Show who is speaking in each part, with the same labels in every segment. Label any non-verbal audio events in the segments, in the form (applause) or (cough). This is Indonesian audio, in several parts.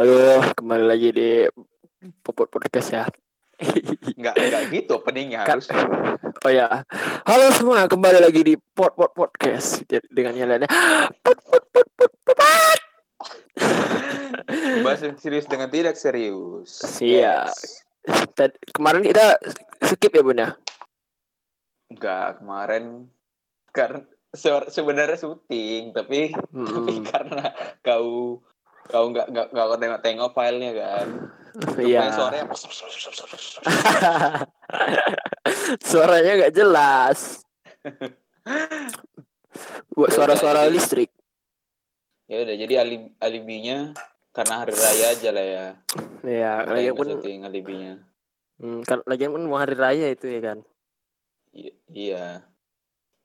Speaker 1: Halo, kembali lagi di Popot Podcast ya. (laughs)
Speaker 2: Nggak, nggak gitu openingnya
Speaker 1: Kan-
Speaker 2: harus.
Speaker 1: Oh ya. Halo semua, kembali lagi di Pot Pot Podcast dengan nyalainnya. (gasps)
Speaker 2: Bahas yang serius dengan tidak serius.
Speaker 1: Iya. (laughs) Tad- Kemarin kita skip ya, Bunda.
Speaker 2: Enggak, kemarin karena sebenarnya syuting, tapi tapi
Speaker 1: Hmm.
Speaker 2: (laughs) karena kau kau nggak nggak nggak kau tengok-tengok filenya kan.
Speaker 1: Iya.
Speaker 2: Main suaranya
Speaker 1: (laughs) Suaranya nggak jelas. Buat
Speaker 2: Yaudah,
Speaker 1: suara-suara
Speaker 2: jadi-
Speaker 1: listrik.
Speaker 2: ya udah jadi alibi alibinya karena hari raya aja lah ya.
Speaker 1: Iya,
Speaker 2: Kita yang
Speaker 1: lagian pun
Speaker 2: syuting alibinya.
Speaker 1: hmm, kan lagian pun mau hari raya itu ya kan.
Speaker 2: I- Iya.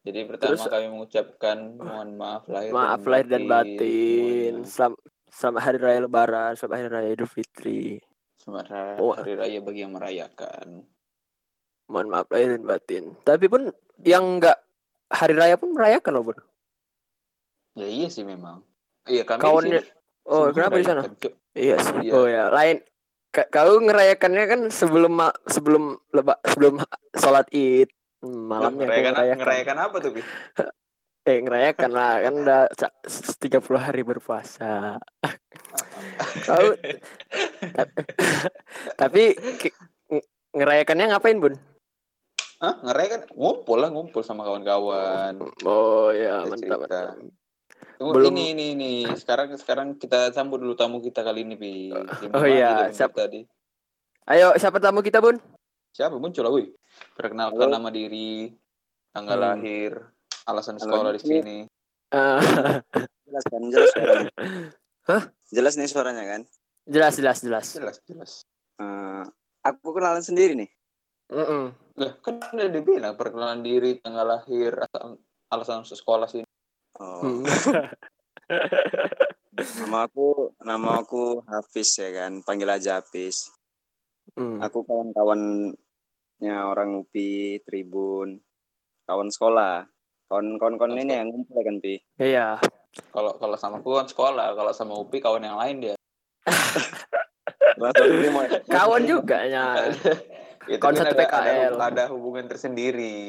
Speaker 2: Jadi pertama
Speaker 1: Terus-
Speaker 2: kami mengucapkan mohon maaf lahir
Speaker 1: Maaf lahir dan batin.
Speaker 2: semuanya.
Speaker 1: Selam- Selamat hari raya lebaran, selamat hari raya Idul Fitri.
Speaker 2: Selamat
Speaker 1: Oh.
Speaker 2: hari raya bagi yang merayakan.
Speaker 1: mohon maaf lahir dan batin. Tapi pun yang enggak hari raya pun merayakan loh, Bun.
Speaker 2: Ya iya sih memang. Iya kami
Speaker 1: Kawan
Speaker 2: di sini
Speaker 1: dia- Oh,
Speaker 2: semua
Speaker 1: kenapa di sana?
Speaker 2: merayakan. Cu-
Speaker 1: Iya sih.
Speaker 2: Iya.
Speaker 1: Oh ya, lain Ka- kau ngerayakannya kan sebelum ma- sebelum leba, sebelum ha- sholat Id Hmm, malamnya kau
Speaker 2: merayakan,
Speaker 1: ngerayakan.
Speaker 2: ngerayakan apa tuh? Bi?
Speaker 1: Eh, ngerayakan lah kan udah ca- s- 30 hari berpuasa.
Speaker 2: (laughs)
Speaker 1: kau (laughs) tapi ki- ng- ngerayakannya ngapain, Bun?
Speaker 2: Hah? Ngerayakan ngumpul lah ngumpul sama kawan-kawan.
Speaker 1: Oh ya,
Speaker 2: Ada
Speaker 1: mantap.
Speaker 2: cerita.
Speaker 1: mantap.
Speaker 2: Tunggu,
Speaker 1: Belum-
Speaker 2: ini ini ini sekarang sekarang kita sambut dulu tamu kita kali ini Bi. Terima
Speaker 1: Oh,
Speaker 2: kasih
Speaker 1: iya.
Speaker 2: udah
Speaker 1: Siap.
Speaker 2: tadi.
Speaker 1: Ayo, siapa tamu kita, Bun?
Speaker 2: Siapa muncul lah, wih. Perkenalkan
Speaker 1: Halo.
Speaker 2: nama diri, tanggal
Speaker 1: Hmm.
Speaker 2: lahir, alasan
Speaker 3: Halo,
Speaker 2: sekolah di
Speaker 3: Bi.
Speaker 2: sini.
Speaker 1: Eh,
Speaker 3: Jelas kan, jelas suaranya. Jelas nih suaranya kan.
Speaker 1: (laughs) jelas, jelas, jelas.
Speaker 2: Jelas jelas.
Speaker 3: Eh, aku kenalan sendiri nih.
Speaker 1: Mm-mm.
Speaker 2: Lah, kan udah dibilang perkenalan diri, tanggal lahir, alasan- alasan masuk sekolah sini.
Speaker 3: Oh,
Speaker 1: Hmm.
Speaker 3: nama aku nama aku Hafiz ya kan, panggil aja Hafiz.
Speaker 1: Hmm.
Speaker 3: Aku kawan-kawannya orang UPI, Tribun, kawan sekolah. Kawan-kawan ini yang ngumpul ya kan, Pi.
Speaker 1: Iya.
Speaker 2: Kalau kalau sama aku kan sekolah, kalau sama Upi kawan yang lain dia.
Speaker 3: Rasa Pi mau-
Speaker 1: Kawan juga ya.
Speaker 2: (laughs) Itu
Speaker 1: Kawan
Speaker 2: kan
Speaker 1: satu
Speaker 2: ada, ada,
Speaker 1: PKL.
Speaker 2: hub- ada hubungan tersendiri.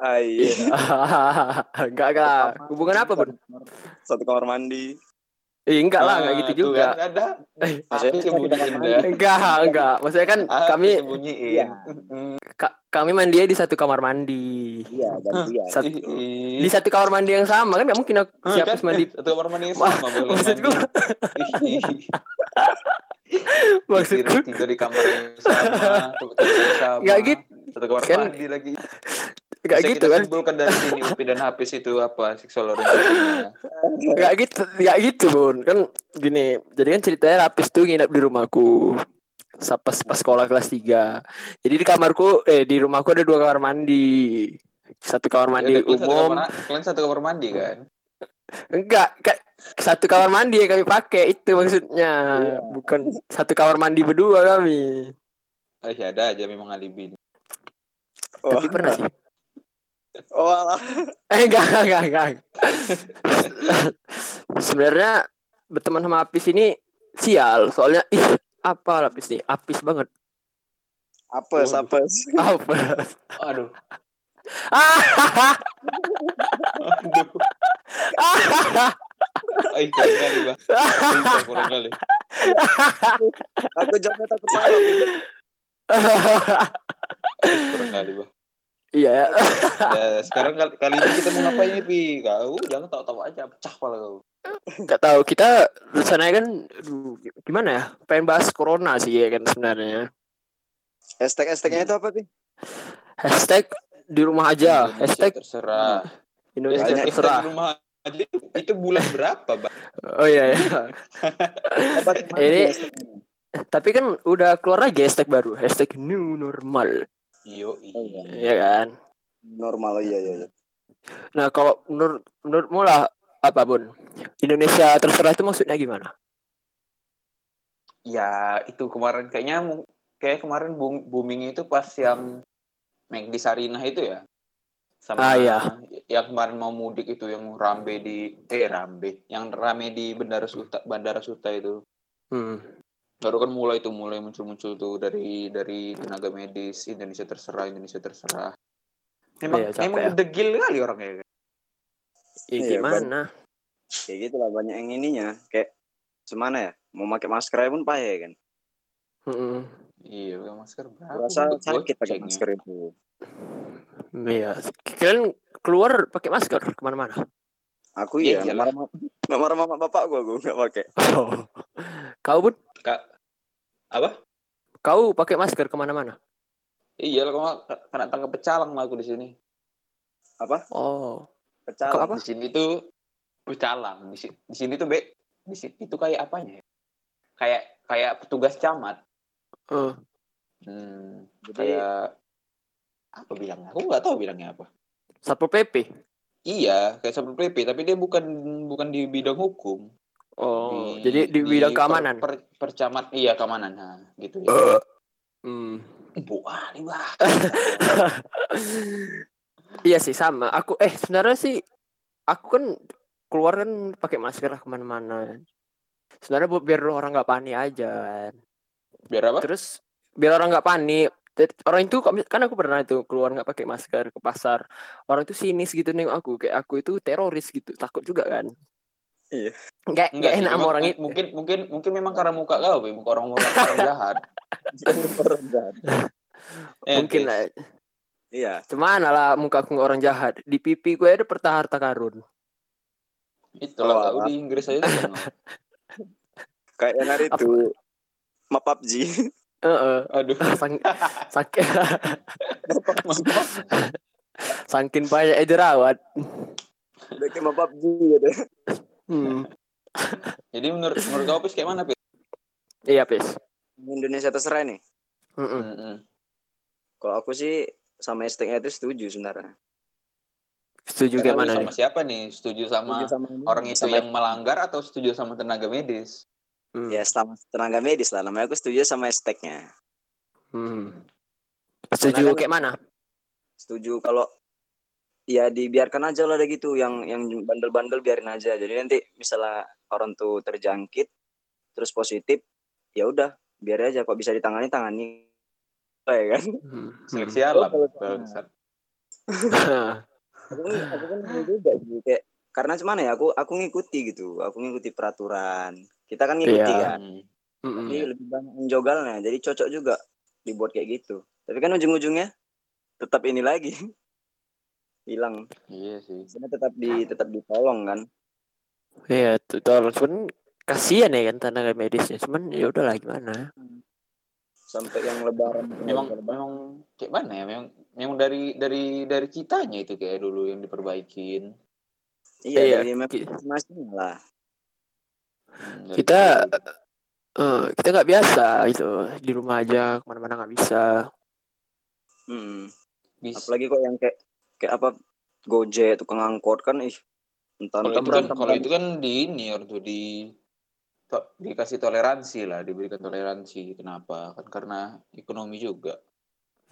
Speaker 3: Ah, iya.
Speaker 1: (laughs) enggak enggak. Hubungan apa, Bun?
Speaker 3: Satu kamar mandi.
Speaker 1: Eh, enggak lah,
Speaker 2: Ah,
Speaker 1: enggak gitu
Speaker 2: tuh
Speaker 1: juga.
Speaker 2: Kan, Ah. ada
Speaker 1: Eh,
Speaker 2: aku
Speaker 3: Maksudnya
Speaker 2: sembunyiin
Speaker 3: kita
Speaker 2: dah.
Speaker 1: (laughs) Enggak, enggak. Maksudnya kan
Speaker 2: Aku
Speaker 1: kami
Speaker 2: sembunyiin.
Speaker 3: Iya.
Speaker 1: ka- kami mandi di satu kamar mandi.
Speaker 3: Iya, gantian.
Speaker 1: Sat-
Speaker 2: Ih, ih.
Speaker 1: Di satu kamar mandi yang sama kan nggak mungkin aku
Speaker 2: Hah,
Speaker 1: siapa
Speaker 2: Iya. kan? (laughs)
Speaker 1: mandi.
Speaker 2: Satu kamar mandi sama boleh
Speaker 1: Maksud gua,
Speaker 2: mandi. Ih,
Speaker 1: (laughs)
Speaker 2: ih.
Speaker 1: maksud
Speaker 2: tidur,
Speaker 1: gua
Speaker 2: tidur di kamar yang sama, tempat yang sama.
Speaker 1: Nggak gitu.
Speaker 2: Satu kamar
Speaker 1: Kan-
Speaker 2: mandi lagi.
Speaker 1: enggak
Speaker 2: Bisa
Speaker 1: gitu
Speaker 2: kita
Speaker 1: kan.
Speaker 2: simpulkan dari sini Upi dan Hafiz itu apa seksual orientasinya.
Speaker 1: Enggak gitu, enggak gitu, Bun. Kan gini, jadi kan ceritanya Rapis tuh nginep di rumahku. Sa- Pas, pas sekolah kelas 3. Jadi di kamarku eh di rumahku ada dua kamar mandi. Satu kamar mandi
Speaker 2: Ya, kalian satu
Speaker 1: umum,
Speaker 2: kamar- kalian satu kamar mandi kan?
Speaker 1: enggak, ka- satu kamar mandi yang kami pakai itu maksudnya.
Speaker 3: Iya.
Speaker 1: Bukan satu kamar mandi berdua kami.
Speaker 2: Eh, ya ada aja memang alibi.
Speaker 3: Oh,
Speaker 1: Tapi pernah sih.
Speaker 3: oh, alah.
Speaker 1: Eh enggak, enggak, enggak, enggak. (laughs) Sebenarnya berteman sama Apis ini sial, soalnya ih apa lapis nih? Apis banget.
Speaker 3: apes,
Speaker 2: Waduh.
Speaker 3: apes.
Speaker 1: Apa?
Speaker 2: Aduh.
Speaker 1: Ah,
Speaker 2: Aduh. Ay, kurang kali, Bang. Sumpah, kurang kali.
Speaker 3: Aku jawabnya takut salah. Pi.
Speaker 2: Kurang kali, Bang.
Speaker 1: (laughs) Iya ya.
Speaker 2: Ya, sekarang kali, kali ini kita mau ngapain nih, Pi? Kau jangan tahu-tahu aja pecah kepala
Speaker 3: Ya,
Speaker 2: kau.
Speaker 1: Gak tahu kita rencananya kan aduh, gimana ya? Pengen bahas corona sih ya kan sebenarnya.
Speaker 3: Hashtag hashtagnya itu apa, Pi?
Speaker 1: Hashtag di rumah aja.
Speaker 2: Indonesia
Speaker 1: Hashtag
Speaker 2: terserah.
Speaker 1: Indonesia
Speaker 2: Hashtag
Speaker 1: terserah.
Speaker 2: di rumah aja itu- itu bulan berapa, Bang?
Speaker 1: Oh iya ya.
Speaker 3: Apa tuh, Mas?
Speaker 1: (laughs) Ini- Tapi kan udah keluar lagi hashtag baru. Hashtag new normal.
Speaker 2: Yo,
Speaker 3: Oh, iya.
Speaker 1: Ya kan.
Speaker 3: normal iya iya. iya.
Speaker 1: Nah kalau menurut menurutmu lah apapun Indonesia terserah itu maksudnya gimana?
Speaker 2: Ya, itu kemarin kayaknya mu- kayak kemarin boom- booming itu pas yang McD Sarinah itu ya. Sama
Speaker 1: Ah, iya.
Speaker 2: yang kemarin mau mudik itu yang rambe di eh rambe, yang rame di Bandara Suta, Bandara Suta itu.
Speaker 1: Hmm.
Speaker 2: Baru kan mulai tuh mulai muncul-muncul tuh dari dari tenaga medis Indonesia terserah Indonesia terserah. Memang
Speaker 1: Iya, capek
Speaker 2: memang
Speaker 1: ya.
Speaker 2: degil kali orangnya. kan?
Speaker 1: Ya,
Speaker 3: Iya,
Speaker 1: gimana?
Speaker 3: kayak gitu lah banyak yang ininya kayak semana ya mau pakai masker aja pun payah ya kan
Speaker 1: Mm-mm.
Speaker 2: Iya, pakai masker berapa? ya.
Speaker 3: rasa
Speaker 2: Untuk
Speaker 3: sakit pakai
Speaker 2: gocengnya.
Speaker 3: masker itu
Speaker 1: Iya. Kalian keluar pakai masker kemana-mana?
Speaker 3: aku
Speaker 2: Iya,
Speaker 3: iya
Speaker 2: iyalah.
Speaker 3: marah marah mama bapak gua gua nggak pakai
Speaker 1: Oh. Kau pun?
Speaker 2: Kak, apa?
Speaker 1: Kau pakai masker kemana-mana?
Speaker 2: Iya, kalau nggak, kena tangkap pecalang lah aku di sini.
Speaker 1: Oh.
Speaker 3: pecah
Speaker 1: Kok apa?
Speaker 2: Di sini tuh pecalang. Di, si- di sini tuh be, di sini itu kayak apanya? ya? Kayak kayak petugas camat.
Speaker 1: Eh,
Speaker 2: Hmm,
Speaker 3: jadi
Speaker 2: kayak apa bilangnya? Aku nggak tahu bilangnya apa.
Speaker 1: Satpol PP.
Speaker 2: Iya, kayak satpol pp, tapi dia bukan bukan di bidang hukum.
Speaker 1: Oh, jadi di bidang
Speaker 2: per-
Speaker 1: keamanan.
Speaker 2: Per, percamat, iya keamanan, nah, gitu ya.
Speaker 1: Eh. Hmm.
Speaker 2: Buah, nih, bah.
Speaker 1: iya sih sama. Aku eh sebenarnya sih aku kan keluar kan pakai masker lah kemana-mana. Sebenarnya buat biar orang nggak panik aja. kan.
Speaker 2: Biar apa?
Speaker 1: Terus biar orang nggak panik. Jadi, Orang itu kan aku pernah itu keluar nggak pakai masker ke pasar. Orang itu sinis gitu nengok aku kayak aku itu teroris gitu. Takut juga kan.
Speaker 3: Iya.
Speaker 1: Nggak, nggak
Speaker 2: sih,
Speaker 1: enak sama
Speaker 2: memang-
Speaker 1: orang itu.
Speaker 2: Mungkin mungkin mungkin memang karena muka kau, Be. muka orang orang, orang jahat. Eh,
Speaker 1: (laughs) Mungkin
Speaker 2: Be.
Speaker 1: lah.
Speaker 3: (laughs) iya
Speaker 1: Cuman lah muka aku nggak orang jahat. Di pipi gue ada peta harta karun.
Speaker 2: Itulah kau
Speaker 3: Oh,
Speaker 2: di Inggris aja. tuh, no.
Speaker 3: kayak yang hari
Speaker 1: Apa?
Speaker 3: itu map PUBG
Speaker 1: Heeh. (laughs)
Speaker 2: Aduh,
Speaker 1: Sang, saking, (laughs)
Speaker 2: mampus.
Speaker 1: saking banyak jerawat.
Speaker 3: udah kayak map PUBG gitu
Speaker 1: Hmm.
Speaker 2: Jadi menurut menurut kau Pis kayak mana, Pis?
Speaker 1: Iya, Pis. Hmm.
Speaker 3: Indonesia terserah nih
Speaker 1: Mm-mm.
Speaker 2: Mm-mm.
Speaker 3: kalau aku sih sama hashtagnya itu setuju sebenarnya
Speaker 1: Setuju
Speaker 2: Tapi
Speaker 1: kayak mana
Speaker 2: sama
Speaker 1: nih?
Speaker 2: siapa nih? Setuju sama
Speaker 3: Setuju sama ini,
Speaker 2: orang itu
Speaker 3: sama-
Speaker 2: yang melanggar atau setuju sama tenaga medis?
Speaker 1: Hmm.
Speaker 2: Iya.
Speaker 3: ya sama tenaga medis lah namanya aku setuju sama hashtagnya
Speaker 1: Hmm. Setuju
Speaker 3: Karena kan-
Speaker 1: kayak mana?
Speaker 3: setuju kalau ya dibiarkan aja lah ada gitu yang yang bandel-bandel biarin aja jadi nanti misalnya orang tuh terjangkit terus positif ya udah biar aja kok bisa ditangani tangani ya kan
Speaker 1: Hmm.
Speaker 2: Seleksi alam.
Speaker 3: Oh, kalau-
Speaker 2: Bangsat.
Speaker 1: (laughs)
Speaker 3: aku kan aku kan gitu juga gitu kayak karena cuman ya aku aku ngikuti gitu aku ngikuti peraturan kita kan ngikuti
Speaker 1: Iya.
Speaker 3: kan
Speaker 2: Hmm.
Speaker 1: Mm-mm.
Speaker 3: jadi lebih banyak menjogalnya jadi cocok juga dibuat kayak gitu tapi kan ujung-ujungnya tetap ini lagi (laughs) hilang
Speaker 2: Iya sih.
Speaker 3: sebenarnya tetap di tetap ditolong kan
Speaker 1: Iya, tuh tolong. Cuman kasihan ya kan tenaga medisnya. Cuman ya udahlah gimana.
Speaker 3: sampai yang lebaran
Speaker 2: memang
Speaker 3: lebaran
Speaker 2: memang kayak mana ya memang memang dari dari dari kitanya itu kayak dulu yang diperbaikin
Speaker 3: iya,
Speaker 1: iya.
Speaker 3: dari memang
Speaker 1: Ki-
Speaker 3: masing-masing lah
Speaker 2: Hmm, dari
Speaker 1: Kita-
Speaker 2: dulu.
Speaker 1: Eh, kita nggak biasa gitu di rumah aja kemana-mana nggak bisa.
Speaker 3: Mm.
Speaker 2: Bis-
Speaker 3: apalagi kok yang kayak kayak apa gojek tukang angkot kan ih entah
Speaker 2: kalau
Speaker 3: entah
Speaker 2: itu kan
Speaker 3: berantem
Speaker 2: kalau itu kan di ini orang tuh di to- dikasih toleransi lah diberikan
Speaker 1: Hmm.
Speaker 2: toleransi kenapa kan karena ekonomi juga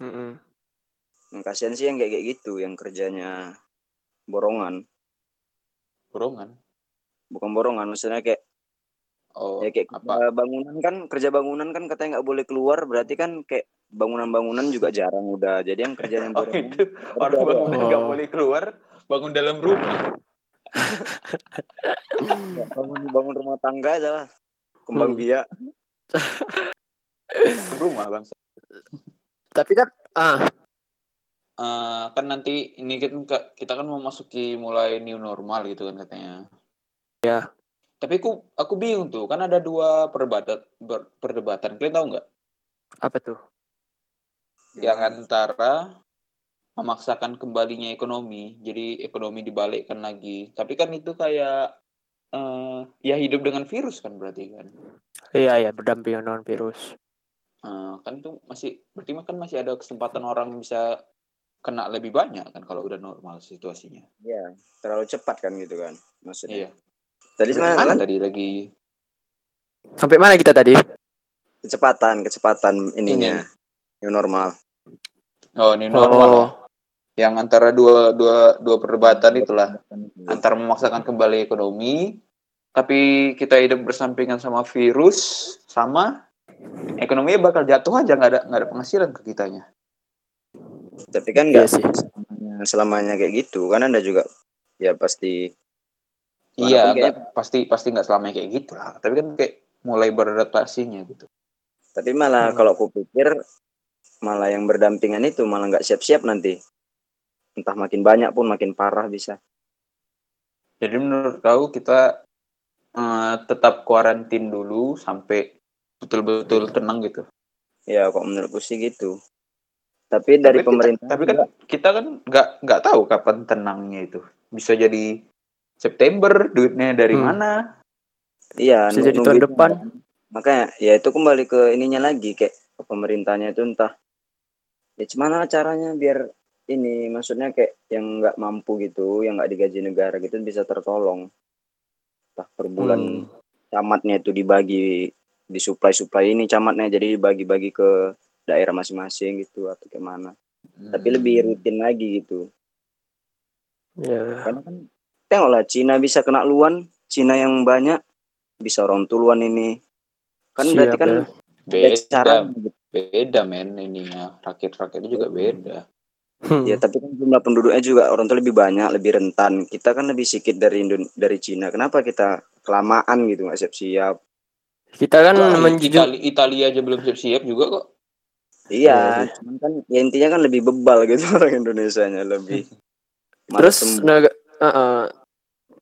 Speaker 1: Mm-mm.
Speaker 3: Yang Hmm, kasihan sih yang kayak kayak gitu yang kerjanya borongan
Speaker 2: borongan
Speaker 3: bukan borongan maksudnya kayak
Speaker 2: oh
Speaker 3: ya kayak
Speaker 2: apa
Speaker 3: kerja bangunan kan kerja bangunan kan katanya nggak boleh keluar berarti kan kayak bangunan-bangunan juga jarang udah jadi yang kerjanya
Speaker 2: (laughs) oh
Speaker 3: borongan
Speaker 2: itu orang
Speaker 3: Udah,
Speaker 2: bangun nggak
Speaker 1: Oh.
Speaker 2: boleh keluar bangun dalam rumah
Speaker 3: udah. bangun bangun rumah tangga aja lah kembang
Speaker 1: Hmm.
Speaker 3: biak
Speaker 2: rumah bang
Speaker 1: Tapi kan ah
Speaker 2: Eh, kan nanti ini kan ka- kita kan memasuki mulai new normal gitu kan katanya.
Speaker 1: Ya.
Speaker 2: Tapi aku aku bingung tuh kan ada dua perdebatan ber- perdebatan kalian tahu nggak?
Speaker 1: apa tuh?
Speaker 2: Yang antara memaksakan kembalinya ekonomi, jadi ekonomi dibalikkan lagi. Tapi kan itu kayak eh, ya hidup dengan virus kan berarti kan.
Speaker 1: Iya iya berdampingan dengan virus.
Speaker 2: Eh, kan tuh masih berarti kan masih ada kesempatan orang bisa kena lebih banyak kan kalau udah normal situasinya.
Speaker 3: Iya, terlalu cepat kan gitu kan
Speaker 2: Iya.
Speaker 3: maksudnya tadi sebenarnya
Speaker 2: Kan
Speaker 3: kan
Speaker 2: tadi lagi
Speaker 1: Sampai mana kita tadi?
Speaker 3: kecepatan kecepatan ininya
Speaker 1: Iya.
Speaker 3: new normal
Speaker 2: Oh, new normal ya.
Speaker 1: Oh.
Speaker 2: Yang antara dua dua dua perdebatan itulah antara memaksakan kembali ekonomi tapi kita hidup bersampingan sama virus sama ekonominya bakal jatuh aja nggak ada nggak ada penghasilan ke kitanya
Speaker 3: tapi
Speaker 1: Iya
Speaker 3: kan nggak
Speaker 1: sih.
Speaker 3: selamanya, selamanya kayak gitu kan anda juga ya pasti Walaupun
Speaker 2: iya
Speaker 3: kayaknya-
Speaker 2: nggak- pasti pasti nggak selamanya kayak gitu lah tapi kan kayak mulai beradaptasinya gitu
Speaker 3: tapi malah
Speaker 1: Hmm.
Speaker 3: kalau kupikir malah yang berdampingan itu malah nggak siap-siap nanti entah makin banyak pun makin parah bisa
Speaker 2: jadi menurut kau kita eh, tetap kuarantin dulu sampai betul-betul tenang gitu
Speaker 3: ya kok menurutku sih gitu tapi dari
Speaker 2: kita-
Speaker 3: pemerintah
Speaker 2: tapi kan kita kan nggak nggak tahu kapan tenangnya itu bisa jadi September duitnya dari
Speaker 1: Hmm.
Speaker 2: mana
Speaker 3: iya
Speaker 1: Bisa jadi
Speaker 3: nunggu-
Speaker 1: tahun
Speaker 3: nungguin.
Speaker 1: depan.
Speaker 3: makanya ya itu kembali ke ininya lagi kayak ke pemerintahnya itu entah ya gimana caranya biar ini maksudnya kayak yang nggak mampu gitu yang nggak digaji negara gitu bisa tertolong entah per bulan
Speaker 1: Hmm.
Speaker 3: camatnya itu dibagi disuplai suplai ini camatnya jadi dibagi-bagi ke daerah masing-masing gitu atau gimana tapi
Speaker 1: Hmm.
Speaker 3: lebih
Speaker 2: Hmm.
Speaker 3: rutin lagi gitu
Speaker 1: Ya.
Speaker 3: karena kan tengoklah Cina bisa kena luan Cina yang banyak bisa orang tuluan ini kan
Speaker 1: Siap,
Speaker 3: berarti kan
Speaker 1: ya.
Speaker 3: ada cara
Speaker 2: beda beda men ininya rakyat rakyatnya juga beda
Speaker 1: Hmm.
Speaker 3: ya tapi kan jumlah penduduknya juga orang tuh lebih banyak lebih rentan kita kan lebih sedikit dari Indon dari Cina kenapa kita kelamaan gitu nggak siap-siap
Speaker 1: Kita kan
Speaker 2: Itali-
Speaker 1: menjunjung
Speaker 2: Itali- Italia aja belum siap-siap juga kok
Speaker 3: iya cuman kan ya intinya kan lebih bebal gitu (laughs) orang Indonesianya lebih
Speaker 1: (laughs) terus
Speaker 3: Malas sembuh.
Speaker 1: nega- uh-uh.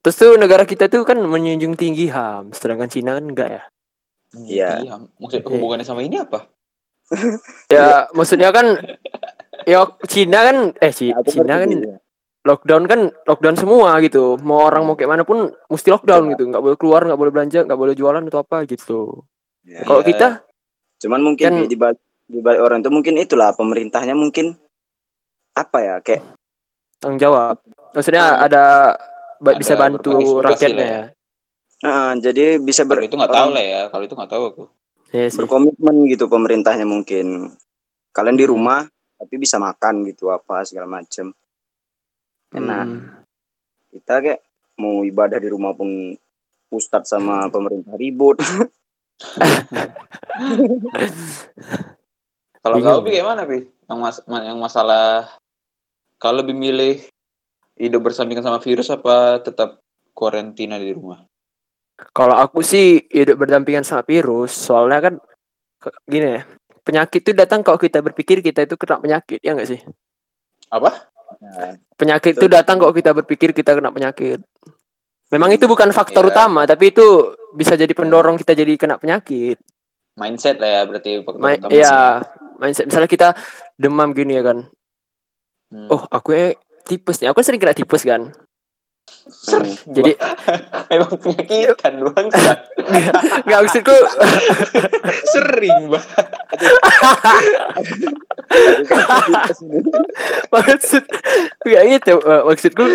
Speaker 1: terus tuh negara kita tuh kan menjunjung tinggi HAM, sedangkan Cina kan enggak ya.
Speaker 3: Iya.
Speaker 2: Iya. maksud hubungannya sama ini apa
Speaker 1: Ya, maksudnya kan ya Cina kan eh Ci-
Speaker 3: Nah, Aku
Speaker 1: Cina
Speaker 3: ngerti
Speaker 1: kan
Speaker 3: sih.
Speaker 1: lockdown kan lockdown semua gitu. Mau orang mau kayak mana pun mesti lockdown gitu. Nggak boleh keluar, nggak boleh belanja, nggak boleh jualan atau apa gitu.
Speaker 3: Ya,
Speaker 1: Kalau
Speaker 2: Iya.
Speaker 1: kita
Speaker 3: cuman mungkin
Speaker 1: Kan-
Speaker 3: di, di balik, di balik orang itu mungkin itulah pemerintahnya mungkin apa ya kayak
Speaker 1: tanggung jawab. Maksudnya
Speaker 3: Ah.
Speaker 1: ada, ba- bisa
Speaker 2: Ada
Speaker 1: bantu
Speaker 2: berpartisipasi
Speaker 1: rakyatnya
Speaker 2: lah
Speaker 1: ya.
Speaker 3: ah, jadi bisa
Speaker 2: kalau
Speaker 3: ber,
Speaker 2: itu nggak tahu
Speaker 3: orang
Speaker 2: lah ya kalau itu nggak tahu aku
Speaker 1: Iya sih.
Speaker 3: berkomitmen gitu pemerintahnya mungkin kalian di
Speaker 2: Hmm.
Speaker 3: rumah tapi bisa makan gitu apa segala macem enak.
Speaker 1: Hmm.
Speaker 3: kita kayak mau ibadah di rumah pun ustadz
Speaker 2: Hmm.
Speaker 3: sama pemerintah
Speaker 2: (laughs)
Speaker 3: ribut
Speaker 2: kalau
Speaker 1: Bingung
Speaker 2: kau Pi,
Speaker 1: ya.
Speaker 2: gimana pi yang mas ma- yang masalah kalau lebih milih hidup bersampingan sama virus apa tetap karantina di rumah
Speaker 1: Kalau aku sih hidup berdampingan sama virus, soalnya kan ke- gini ya. Penyakit itu datang kalau kita berpikir kita itu kena penyakit, ya nggak sih?
Speaker 2: apa
Speaker 3: Nah,
Speaker 1: Penyakit itu
Speaker 3: Betul.
Speaker 1: datang kalau kita berpikir kita kena penyakit. Memang itu bukan faktor
Speaker 2: Iya.
Speaker 1: utama, tapi itu bisa jadi pendorong kita jadi kena penyakit.
Speaker 2: mindset lah ya berarti faktor
Speaker 1: Ma-
Speaker 2: utamanya.
Speaker 1: iya, mindset. Misalnya kita demam gini ya kan.
Speaker 2: Hmm.
Speaker 1: Oh, aku eh, tipes nih. Aku kan sering kena tipes kan.
Speaker 2: Jadi
Speaker 1: hmm.
Speaker 2: (laughs)
Speaker 1: Jadi-
Speaker 2: emang penyakit kan bangsa.
Speaker 1: (laughs) Nggak maksudku.
Speaker 2: Sering banget.
Speaker 1: maksud nggak gitu. eh, Maksudku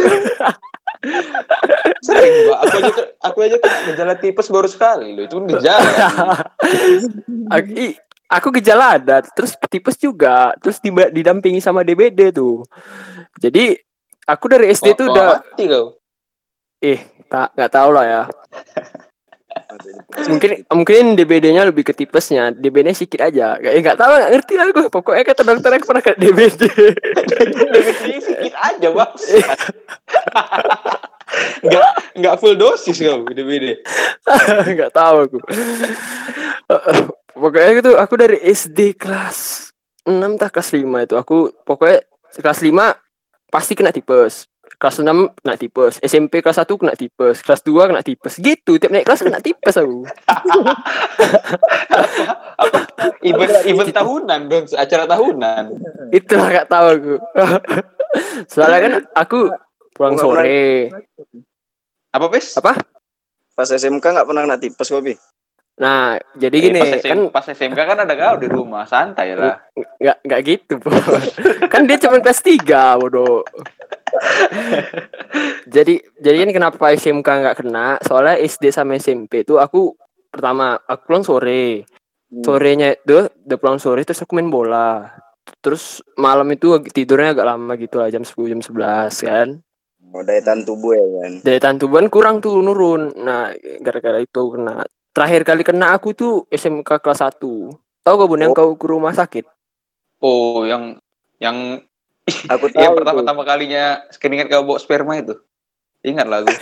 Speaker 2: Sering banget. Aku aja aku aja kena gejala tipes baru sekali loh. Itu kan gejala.
Speaker 1: (laughs) aku, i- aku gejala ada, terus tipes juga, terus tiba didampingi sama DBD tuh. Jadi aku dari SD
Speaker 2: Kok-
Speaker 1: tuh
Speaker 2: kok
Speaker 1: udah
Speaker 2: mati kau.
Speaker 1: eh tak nggak tahu lah ya. Mungkin mungkin DBD-nya lebih ke tipesnya, DBD-nya sedikit aja. Kayak eh, nggak tahu nggak ngerti lah aku. Pokoknya kata dokter aku pernah kena DBD.
Speaker 2: Definisinya sedikit aja, Bang. (laughs) Enggak enggak full dosis kau DBD.
Speaker 1: (laughs) nggak tahu aku. pokoknya gitu aku dari SD kelas 6 tak kelas 5 itu aku pokoknya kelas 5 pasti kena tipes. Kelas 6 kena tipes, SMP kelas 1 kena tipes, kelas 2 kena tipes. Gitu, tiap naik kelas kena tipes aku.
Speaker 2: Event event tahunan dong, acara tahunan.
Speaker 1: Itulah gak tahu aku. (laughs) Soalnya kan aku pulang
Speaker 3: Nggak
Speaker 1: sore.
Speaker 2: Apa pes?
Speaker 1: Apa?
Speaker 3: pas SMK nggak pernah kena tipes kopi
Speaker 1: Nah, jadi
Speaker 2: Eh,
Speaker 1: gini
Speaker 2: pas, SM,
Speaker 1: kan Iya.
Speaker 2: pas SMK kan ada kau di rumah, santai lah.
Speaker 1: nggak nggak gitu bro. kan dia cuma kelas 3 bodoh jadi jadi kan kenapa SMK nggak kena soalnya SD sama SMP itu aku pertama aku pulang sore
Speaker 2: Hmm.
Speaker 1: sorenya itu udah pulang sore terus aku main bola terus malam itu ag- tidurnya agak lama gitu lah jam 10 jam 11 kan
Speaker 3: Oh, daya tahan tubuh ya kan.
Speaker 1: Daya tahan tubuhan kurang tuh nurun. Nah, gara-gara itu kena. Terakhir kali kena aku tuh SMK kelas 1. Tahu gak Bun yang kau ke rumah sakit?
Speaker 2: Oh, yang yang
Speaker 3: Aku tahu.
Speaker 2: yang
Speaker 3: tuh.
Speaker 2: pertama-tama kalinya keringat kau bawa sperma itu. Ingat lah aku.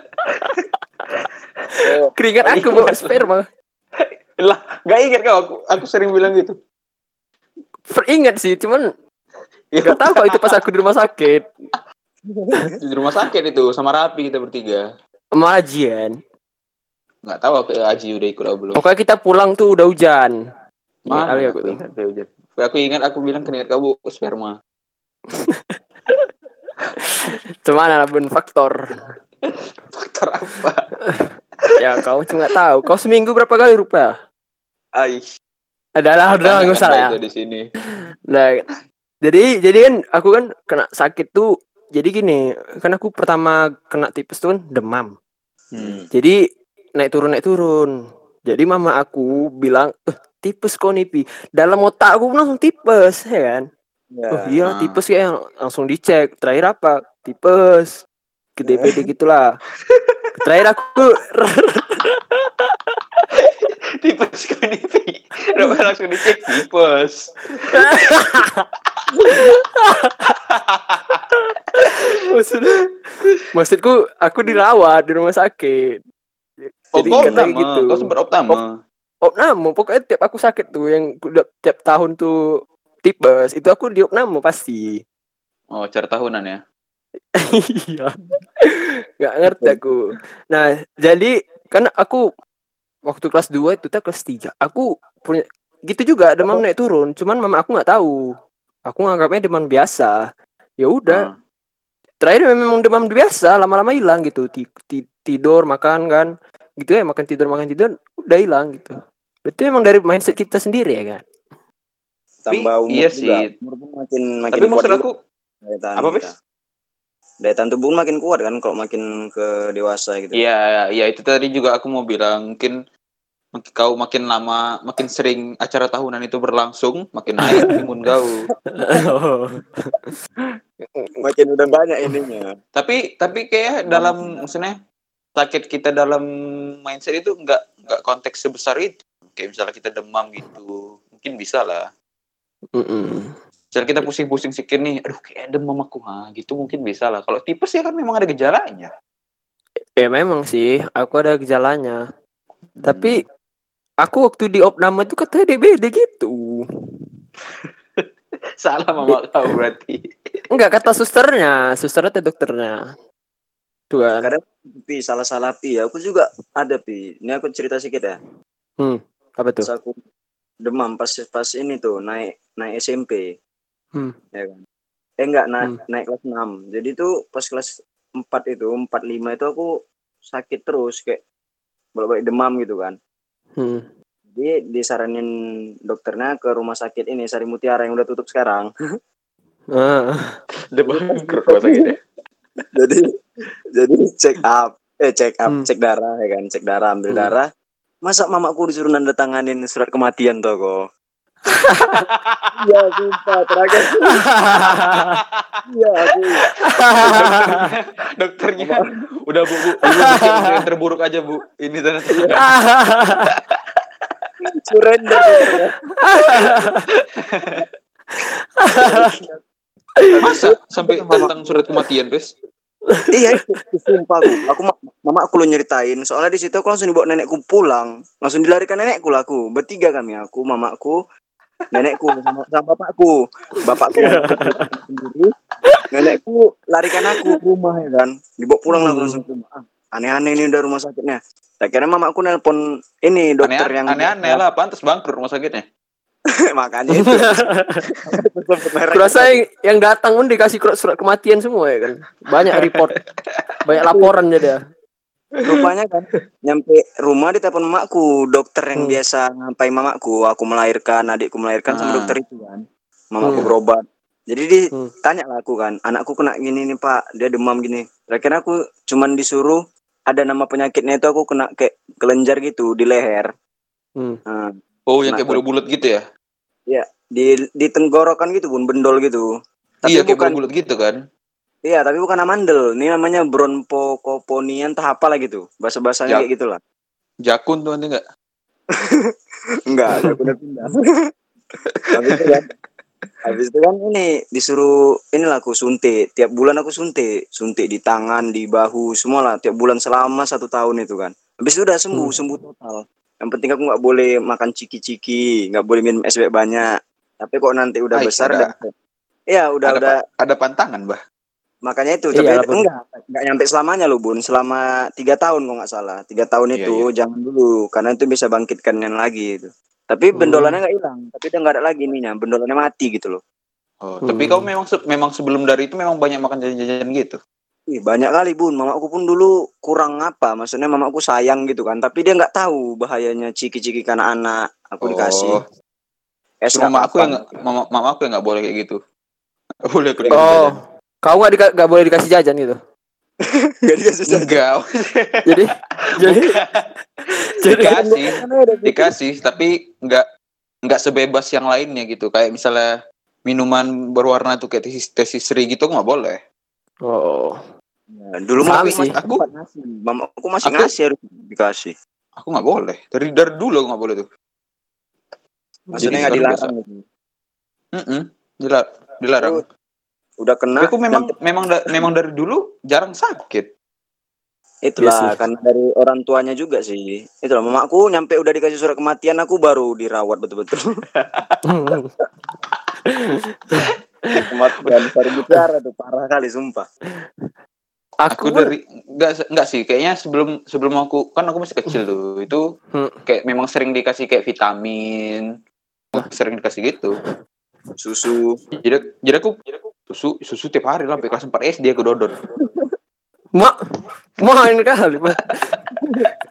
Speaker 1: (laughs)
Speaker 3: Oh,
Speaker 1: Keringat aku bawa sperma.
Speaker 2: Gak ingat kau, aku, aku sering bilang gitu.
Speaker 1: Ingat sih, cuman
Speaker 2: Ya,
Speaker 1: gak tahu kok itu pas aku di rumah sakit.
Speaker 2: di rumah sakit itu sama Rapi kita bertiga.
Speaker 1: Sama Ajian.
Speaker 2: Nggak tahu apa Aji udah ikut atau belum.
Speaker 1: Pokoknya kita pulang tuh udah hujan. Oh,
Speaker 2: Mana
Speaker 1: Iya, kali
Speaker 2: aku
Speaker 1: aku tuh.
Speaker 2: ingat dia hujan. Aku ingat aku bilang keringat kau bawa sperma. (laughs)
Speaker 1: Cuman ada Bun faktor.
Speaker 2: Faktor apa?
Speaker 1: Ya kau cuma nggak tahu. Kau seminggu berapa kali rupa?
Speaker 2: Aish.
Speaker 1: Adalah, udah nggak usah lah ya.
Speaker 2: Itu di sini.
Speaker 1: Nah, jadi jadi kan aku kan kena sakit tuh. Jadi gini, kan aku pertama kena tipes tuh kan demam.
Speaker 2: Hmm.
Speaker 1: Jadi naik turun naik turun. Jadi mama aku bilang, eh, tipes kok nih Pi." Dalam otak aku langsung tipes, ya kan?
Speaker 3: Ya.
Speaker 1: Oh iya
Speaker 2: Ah.
Speaker 1: tipes ya langsung dicek. Terakhir apa? Tipes. Ke DPD gitulah. Terakhir aku
Speaker 2: Tipes kau nih, Pi. Kenapa langsung dicek tipes?
Speaker 1: maksud maksudku aku dirawat di rumah sakit.
Speaker 2: Oh,
Speaker 1: Jadi
Speaker 2: kau
Speaker 1: katanya
Speaker 2: utama.
Speaker 1: gitu.
Speaker 2: Kau sempat optama.
Speaker 1: Opname pokoknya tiap aku sakit tuh yang udah tiap tahun tuh tipes itu aku di opname pasti.
Speaker 2: Oh, cara tahunan ya.
Speaker 1: Iya. Gak ngerti aku. Nah, jadi kan aku waktu kelas 2 itu tak kelas 3. Aku punya gitu juga demam naik turun, cuman mama aku nggak tahu. Aku nganggapnya demam biasa. Ya udah,
Speaker 2: Ah.
Speaker 1: terakhir memang demam biasa, lama-lama hilang gitu. Ti- ti- tidur, makan kan. Gitu ya, makan tidur, makan tidur udah hilang gitu. Berarti memang dari mindset kita sendiri ya kan.
Speaker 3: Tambah umur
Speaker 2: iya
Speaker 3: juga.
Speaker 2: sih.
Speaker 3: Umur pun makin makin
Speaker 2: Tapi maksud
Speaker 3: juga
Speaker 2: aku
Speaker 3: daya tahan
Speaker 2: apa,
Speaker 3: kita.
Speaker 2: Fis?
Speaker 3: Daya tahan tubuh makin kuat kan kalau makin ke dewasa gitu.
Speaker 2: Iya, iya itu tadi juga aku mau bilang mungkin mungkin kau makin lama, makin sering acara tahunan itu berlangsung, makin
Speaker 1: (laughs)
Speaker 2: naik imun kau.
Speaker 3: Makin udah banyak ininya.
Speaker 2: Tapi tapi kayak dalam maksudnya sakit kita dalam mindset itu enggak enggak konteks sebesar itu. Kayak misalnya kita demam gitu, mungkin bisa lah.
Speaker 1: Mm-mm.
Speaker 2: Misalnya kita pusing-pusing sikit nih, aduh kayak demam aku, ha, gitu mungkin bisa lah. Kalau tipes ya kan memang ada gejalanya.
Speaker 1: Ya memang sih, aku ada gejalanya. Tapi aku waktu di opname tuh katanya DBD gitu.
Speaker 2: Hmm. (laughs) salah mama kau berarti.
Speaker 1: Enggak kata susternya, susternya atau dokternya. Tuh kan.
Speaker 3: Pi salah-salah pi ya. Aku juga ada pi. Ini aku cerita sikit ya.
Speaker 1: Apa tuh?
Speaker 3: Pas aku demam pas pas ini tuh naik naik SMP.
Speaker 1: Hmm.
Speaker 3: Ya kan. Eh enggak na-
Speaker 1: Hmm.
Speaker 3: naik kelas 6. Jadi tuh pas kelas 4 itu, 4 5 itu aku sakit terus kayak bolak-balik demam gitu kan.
Speaker 1: Hmm.
Speaker 3: Jadi disaranin dokternya ke rumah sakit ini Sari Mutiara yang udah tutup sekarang. (laughs)
Speaker 1: Ah.
Speaker 2: Demam ke rumah sakit ya.
Speaker 3: jadi jadi check up, eh check up,
Speaker 1: Hmm.
Speaker 3: cek darah ya kan, cek darah, ambil
Speaker 1: Hmm.
Speaker 3: darah. Masa mamaku disuruh nanda tanganin surat kematian toh kok.
Speaker 1: (laughs)
Speaker 3: Iya, sumpah terakhir. Iya, aku.
Speaker 2: dokternya, dokternya udah bu, bu, bu, bikin untuk yang terburuk aja bu ini tanda tanda
Speaker 3: (laughs) Surrender.
Speaker 2: masa sampai tentang surat kematian guys
Speaker 3: iya, itu (laughs) sumpah aku. Aku ma- mama aku lu nyeritain. Soalnya di situ aku langsung dibawa nenekku pulang. Langsung dilarikan nenekku lah aku. Bertiga kami aku, mamaku, nenekku sama, sama bapakku. Bapakku sendiri. Nenekku larikan aku ke rumah ya kan. Dibawa pulang lah aku langsung ke rumah. Ah, Aneh-aneh ini udah rumah sakitnya. Tak kira mamaku nelpon
Speaker 2: aneh
Speaker 3: ini dokter yang
Speaker 2: aneh
Speaker 3: (laughs)
Speaker 2: aneh lah pantas bangkrut rumah sakitnya
Speaker 3: makanya itu.
Speaker 1: (laughs) Kurasa yang, yang datang pun dikasih surat, surat kematian semua ya kan. Banyak report, banyak laporan jadi ya.
Speaker 3: rupanya kan nyampe rumah ditelepon mamaku dokter yang
Speaker 1: Hmm.
Speaker 3: biasa ngapain mamaku aku melahirkan adikku melahirkan
Speaker 2: Ah.
Speaker 3: sama
Speaker 2: Iya.
Speaker 3: dokter itu kan mamaku
Speaker 1: Hmm.
Speaker 3: berobat jadi di
Speaker 1: Hmm.
Speaker 3: tanya lah aku kan anakku kena gini nih pak dia demam gini terakhir aku cuman disuruh ada nama penyakitnya itu aku kena kayak kelenjar gitu di leher
Speaker 1: Hmm.
Speaker 3: Nah,
Speaker 2: oh yang
Speaker 3: Nah,
Speaker 2: kayak bulat bulat gitu ya
Speaker 3: di di tenggorokan gitu bun bendol gitu tapi
Speaker 2: iya kayak
Speaker 3: bukan
Speaker 2: bulat bulat gitu kan
Speaker 3: Iya, tapi bukan amandel. Ini namanya bronkoponian tahap apa lagi tuh. Bahasa-bahasanya
Speaker 2: Ya.
Speaker 3: kayak gitu lah.
Speaker 2: Jakun tuh nanti nggak?
Speaker 3: Enggak, aku udah pindah. Habis itu kan, habis itu kan ini disuruh inilah aku suntik. Tiap bulan aku suntik, suntik di tangan, di bahu, semua lah. Tiap bulan selama satu tahun itu kan. Habis itu udah sembuh,
Speaker 1: Hmm.
Speaker 3: sembuh total. Yang penting aku nggak boleh makan ciki-ciki, nggak boleh minum es bek banyak. Tapi kok nanti udah
Speaker 2: Baik,
Speaker 3: besar,
Speaker 2: ada-
Speaker 3: udah- Iya, udah
Speaker 2: ada,
Speaker 3: udah
Speaker 2: pa- ada pantangan bah.
Speaker 3: Makanya itu,
Speaker 1: Iya,
Speaker 3: tapi
Speaker 1: lapor.
Speaker 3: enggak, enggak nyampe selamanya loh Bun. Selama tiga tahun kalau nggak salah. Tiga tahun
Speaker 2: Iya,
Speaker 3: itu jangan dulu, karena itu bisa bangkitkan yang lagi itu. Tapi
Speaker 1: Hmm.
Speaker 3: bendolannya nggak hilang, tapi udah nggak ada lagi ininya, bendolannya mati gitu loh.
Speaker 2: Oh,
Speaker 1: Hmm.
Speaker 2: tapi kau memang se- memang sebelum dari itu memang banyak makan jajan-jajan gitu.
Speaker 3: Ih, banyak kali Bun, mamaku pun dulu kurang apa, maksudnya mamaku sayang gitu kan. Tapi dia nggak tahu bahayanya ciki-ciki ke anak-anak. Aku
Speaker 2: Oh,
Speaker 3: dikasih es nggak
Speaker 2: cuma mama aku
Speaker 3: apa-apa.
Speaker 2: yang
Speaker 3: (laughs)
Speaker 2: nggak- mama, mama aku yang nggak boleh kayak gitu. (laughs) Nggak boleh aku dikasih
Speaker 1: Oh,
Speaker 2: jajan.
Speaker 1: kau nggak dika- nggak boleh dikasih jajan gitu.
Speaker 3: Nggak dikasih jajan.
Speaker 1: (laughs)
Speaker 2: Enggak,
Speaker 1: Jadi, jadi, jadi
Speaker 2: dikasih, dikasih, tapi nggak nggak sebebas yang lainnya gitu. Kayak misalnya minuman berwarna tuh kayak tesis tesis seri gitu nggak boleh.
Speaker 1: Oh,
Speaker 3: Dulu
Speaker 1: Paham sih.
Speaker 3: mamaku masih aku mamaku masih
Speaker 2: Aku-
Speaker 3: ngasih harus dikasih.
Speaker 2: Aku nggak boleh. Dari dari dulu aku nggak boleh tuh. Jadi
Speaker 3: Maksudnya nggak
Speaker 2: sekarang
Speaker 3: dilarang. gitu.
Speaker 2: Mm-mm, dila- dilarang.
Speaker 3: Aku Udah kena.
Speaker 2: Tapi aku memang
Speaker 3: nah, dan-
Speaker 2: memang da- memang dari dulu jarang sakit.
Speaker 1: Iya
Speaker 3: Itulah
Speaker 1: sih.
Speaker 3: karena dari orang tuanya juga sih. Itulah mamaku nyampe udah dikasih surat kematian aku baru dirawat betul-betul. (laughs)
Speaker 1: (laughs)
Speaker 3: Kematian baru bicara tuh parah kali sumpah.
Speaker 1: aku,
Speaker 2: Aku dari nggak nggak sih kayaknya sebelum sebelum aku kan aku masih kecil tuh itu
Speaker 1: Hmm.
Speaker 2: kayak memang sering dikasih kayak vitamin sering dikasih gitu
Speaker 3: Susu.
Speaker 2: jadi jadi aku susu susu tiap hari lah sampai kelas 4 SD aku dodot
Speaker 1: mak main kali Mak.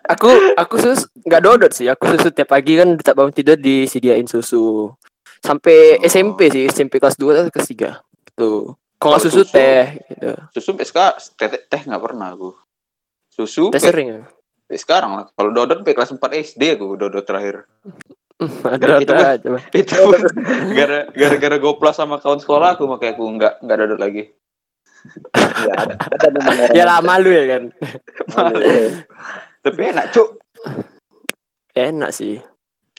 Speaker 1: aku aku sus nggak dodot sih aku susu tiap pagi kan tak bangun tidur disediain susu sampai
Speaker 2: Oh.
Speaker 1: SMP sih SMP kelas 2 kelas 3 gitu kalau nggak
Speaker 2: Kalau
Speaker 1: susu
Speaker 2: susu-
Speaker 1: teh gitu
Speaker 2: susu sampai sekarang teh teh- teh nggak pernah aku susu
Speaker 1: teh
Speaker 2: sampai
Speaker 1: sering
Speaker 2: (laughs)
Speaker 1: ya?
Speaker 2: sampai sekarang lah kalau dodot sampai kelas 4 SD aku dodot terakhir (laughs)
Speaker 1: Hmm, ada
Speaker 2: Itu
Speaker 1: ada
Speaker 2: kan-
Speaker 1: aja, Mak.
Speaker 2: itu gara gara gara goplas sama kawan sekolah aku makanya aku nggak nggak dodot lagi
Speaker 3: Ya, ada, ada memang orang
Speaker 1: ya lama lu ya kan
Speaker 3: yang-
Speaker 2: tapi enak cuk
Speaker 1: Ya, enak sih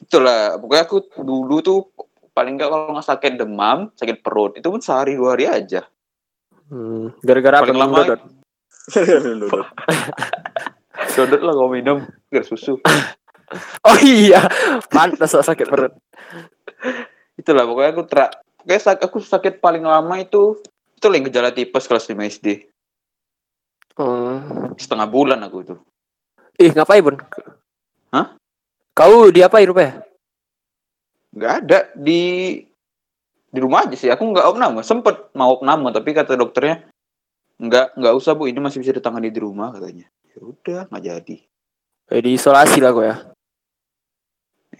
Speaker 2: itulah pokoknya aku dulu tuh paling nggak kalau nggak sakit demam sakit perut itu pun sehari dua hari aja
Speaker 1: Hmm, gara-gara apa
Speaker 2: paling
Speaker 1: lu
Speaker 2: lama
Speaker 1: dodot (laughs)
Speaker 2: dodot lah kalau minum gara susu
Speaker 1: oh iya pantas kok sakit perut
Speaker 2: itulah pokoknya aku terak pokoknya sak- aku sakit paling lama itu itu lah yang gejala tipes kelas 5 SD
Speaker 1: Hmm.
Speaker 2: setengah bulan aku itu
Speaker 1: ih ngapain bun
Speaker 2: Hah?
Speaker 1: kau diapain rupanya
Speaker 2: nggak ada di di rumah aja sih aku nggak opname sempet mau opname tapi kata dokternya nggak nggak usah bu ini masih bisa ditangani di rumah katanya ya udah nggak jadi
Speaker 1: eh, diisolasi lah kau ya